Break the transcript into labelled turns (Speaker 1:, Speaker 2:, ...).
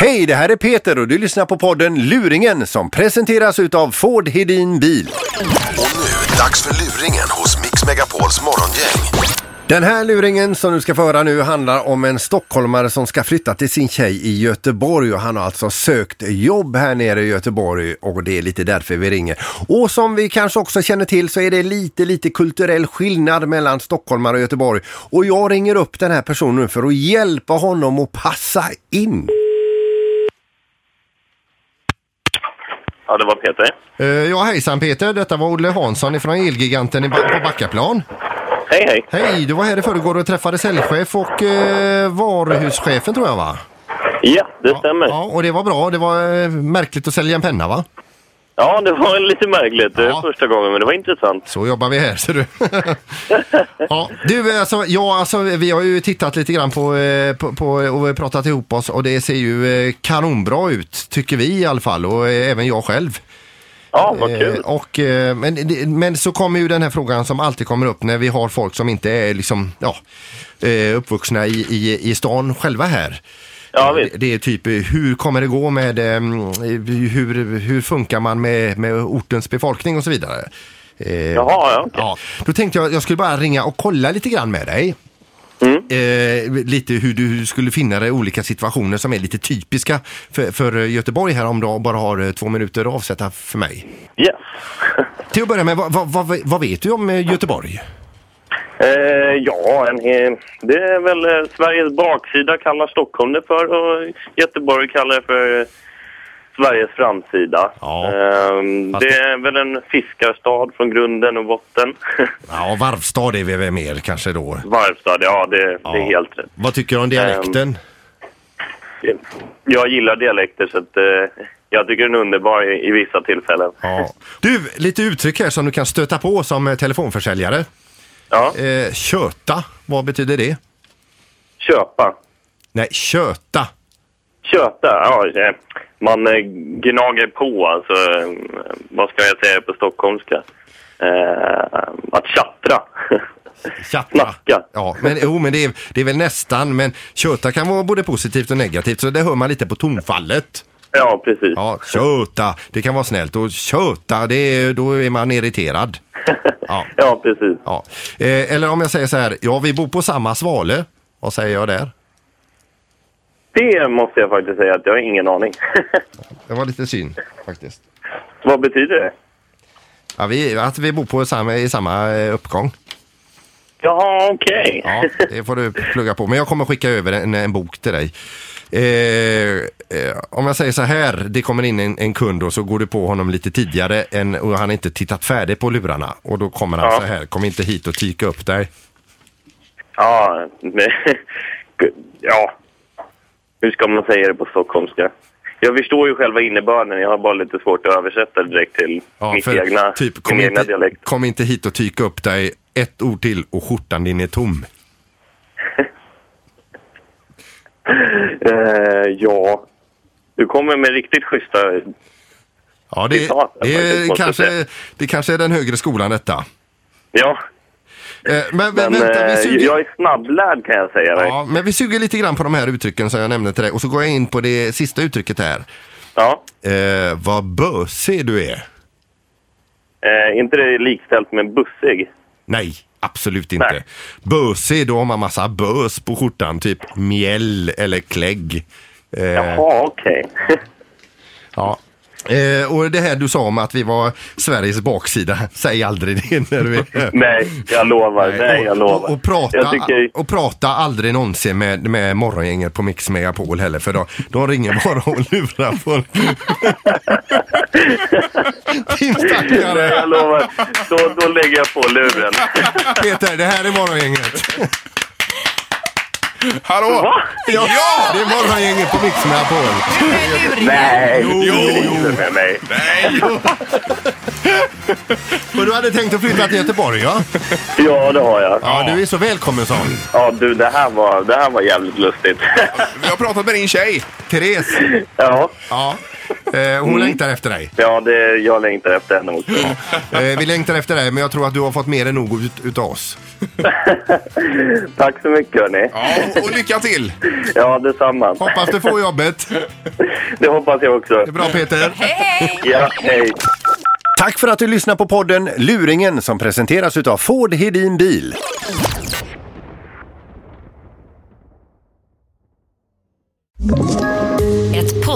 Speaker 1: Hej, det här är Peter och du lyssnar på podden Luringen som presenteras utav Ford Hedin Bil.
Speaker 2: Och nu, dags för luringen hos Mix Megapols morgongäng.
Speaker 1: Den här luringen som du ska få höra nu handlar om en stockholmare som ska flytta till sin tjej i Göteborg och han har alltså sökt jobb här nere i Göteborg och det är lite därför vi ringer. Och som vi kanske också känner till så är det lite, lite kulturell skillnad mellan stockholmare och Göteborg. Och jag ringer upp den här personen nu för att hjälpa honom att passa in.
Speaker 3: Ja, det var Peter.
Speaker 1: Eh, Ja hejsan Peter, detta var Olle Hansson ifrån Elgiganten i Ba- på Backaplan.
Speaker 3: Hej, hej.
Speaker 1: Hej, du var här i förrgår och träffade säljchef och eh, varuhuschefen tror jag va?
Speaker 3: Ja, det stämmer.
Speaker 1: Ja, och det var bra. Det var eh, märkligt att sälja en penna va?
Speaker 3: Ja, det var lite märkligt eh,
Speaker 1: Ja.
Speaker 3: första gången, men det var intressant.
Speaker 1: Så jobbar vi här ser du. ja, du alltså, ja, alltså, vi har ju tittat lite grann på, eh, på, på och pratat ihop oss och det ser ju eh, kanonbra ut tycker vi i alla fall och eh, även jag själv.
Speaker 3: Ja, vad
Speaker 1: Eh,
Speaker 3: kul.
Speaker 1: Och, eh, men, det- men så kommer ju den här frågan som alltid kommer upp när vi har folk som inte är liksom, ja, eh, uppvuxna i, i, i stan själva här.
Speaker 3: Ja,
Speaker 1: Eh,
Speaker 3: visst.
Speaker 1: det, det är typ eh, hur kommer det gå med, eh, hur, hur funkar man med, med ortens befolkning och så vidare. Eh,
Speaker 3: Jaha, ja. okej.
Speaker 1: Ja, då tänkte jag jag skulle bara ringa och kolla lite grann med dig.
Speaker 3: Mm.
Speaker 1: Eh, lite hur du skulle finna dig i olika situationer som är lite typiska för, för Göteborg här om du bara har eh, två minuter att avsätta för mig.
Speaker 3: Yes.
Speaker 1: Till att börja med, vad, vad, vad, vad vet du om eh, Göteborg?
Speaker 3: Eh, ja, en, he- det är väl eh, Sveriges baksida kallar Stockholm det för och Göteborg kallar det för eh, Sveriges framsida.
Speaker 1: Ja.
Speaker 3: Ehm,
Speaker 1: Fast
Speaker 3: det är väl en fiskarstad från grunden och botten.
Speaker 1: Ja, varvstad är vi väl mer kanske då.
Speaker 3: Varvstad, ja det, det är helt rätt. Ehm.
Speaker 1: Vad tycker du om dialekten?
Speaker 3: Jag gillar dialekter så att, eh, jag tycker den är underbar i, i vissa tillfällen.
Speaker 1: Ja. Du, lite uttryck här som du kan stöta på som eh, telefonförsäljare.
Speaker 3: Ja,
Speaker 1: Eh, köta, vad betyder det?
Speaker 3: köpa.
Speaker 1: Nej, köta.
Speaker 3: Köta, ja. eh, Man eh, gnager på, alltså. eh, Vad ska jag säga på stockholmska? Eh, att tjattra.
Speaker 1: Tjattra.
Speaker 3: Snacka.
Speaker 1: Ja, men, jo, men det, är, det är väl nästan, men köta kan vara både positivt och negativt så det hör man lite på tonfallet.
Speaker 3: Ja, precis.
Speaker 1: Ja, köta, det kan vara snällt och köta, det är, då är man irriterad. Ja.
Speaker 3: Ja, precis.
Speaker 1: Ja. Eh, eller om jag säger så här, ja vi bor på samma svale. Vad säger jag där?
Speaker 3: Det måste jag faktiskt säga att jag har ingen aning.
Speaker 1: Det var lite synd faktiskt.
Speaker 3: Vad betyder det?
Speaker 1: Ja, vi, att vi bor på samma, i samma eh, uppgång.
Speaker 3: Jaha, okej.
Speaker 1: Ja, det får du plugga på. Men jag kommer skicka över en, en bok till dig. Eh, eh, om jag säger så här, det kommer in en, en kund och så går du på honom lite tidigare än, och han har inte tittat färdigt på lurarna. Och då kommer han
Speaker 3: Ja.
Speaker 1: så här, kom inte hit och tyka upp dig.
Speaker 3: Ja. men- ja. Hur ska man säga det på stockholmska? Jag förstår ju själva innebörden. Jag har bara lite svårt att översätta det direkt till mitt
Speaker 1: för
Speaker 3: egna,
Speaker 1: typ,
Speaker 3: min
Speaker 1: kom,
Speaker 3: egna
Speaker 1: inte,
Speaker 3: dialekt.
Speaker 1: kom inte hit och tyka upp dig. Ett ord till och skjortan din är tom.
Speaker 3: Eh, ja. Du kommer med riktigt schyssta...
Speaker 1: Ja, det,
Speaker 3: Ja,
Speaker 1: det,
Speaker 3: faktiskt,
Speaker 1: är
Speaker 3: måste jag
Speaker 1: kanske, det kanske är den högre skolan detta.
Speaker 3: Ja,
Speaker 1: Eh, Men, men,
Speaker 3: men
Speaker 1: vänta, vi
Speaker 3: eh,
Speaker 1: suger,
Speaker 3: jag är snabblärd kan jag säga dig. Ja.
Speaker 1: ja, men vi suger lite grann på de här uttrycken som jag nämnde till dig och så går jag in på det sista uttrycket här. Eh, vad bösig du är.
Speaker 3: Eh, inte det likställt med bussig?
Speaker 1: Nej, absolut inte.
Speaker 3: Nej.
Speaker 1: Bösig, då har man massa bös på skjortan, typ mjäll eller klägg. Eh,
Speaker 3: Jaha, okej.
Speaker 1: ja. Eh, och det här du sa om att vi var Sveriges baksida, säg aldrig det när du är här.
Speaker 3: Nej, jag lovar. Nej, jag
Speaker 1: och,
Speaker 3: lovar.
Speaker 1: och, och, prata,
Speaker 3: Jag tycker,
Speaker 1: och prata aldrig någonsin med, med morgongänget på Mix Megapol heller för de, de ringer bara och lurar folk. Din
Speaker 3: nej, jag
Speaker 1: stackare!
Speaker 3: lovar. Då, då lägger jag på luren.
Speaker 1: Peter, det här är morgongänget.
Speaker 4: Hallå!
Speaker 1: Ja, det är morgongänget på Mix Megapol.
Speaker 3: Nej,
Speaker 4: Jo,
Speaker 3: inte med mig.
Speaker 4: Nej!
Speaker 1: Och du hade tänkt att flytta till Göteborg ja?
Speaker 3: Ja, det har jag.
Speaker 1: Ja, du är så välkommen så.
Speaker 3: Ja, du, det här var, det här var jävligt lustigt.
Speaker 4: Vi har pratat med din tjej.
Speaker 1: Therese,
Speaker 3: Ja,
Speaker 1: ja.
Speaker 4: Eh,
Speaker 3: Mm.
Speaker 4: hon längtar efter dig.
Speaker 3: Ja, det, jag längtar efter henne också.
Speaker 4: Eh, vi längtar efter dig, men jag tror att du har fått mer än nog ut, utav oss.
Speaker 3: Tack så mycket, hörni.
Speaker 4: Ja, och lycka till!
Speaker 3: Ja, detsamma.
Speaker 4: Hoppas du får jobbet.
Speaker 3: Det hoppas jag också.
Speaker 4: Det är bra Peter.
Speaker 3: Ja, hej.
Speaker 1: Tack för att du lyssnar på podden Luringen som presenteras utav Ford Hedin Bil.
Speaker 5: Ett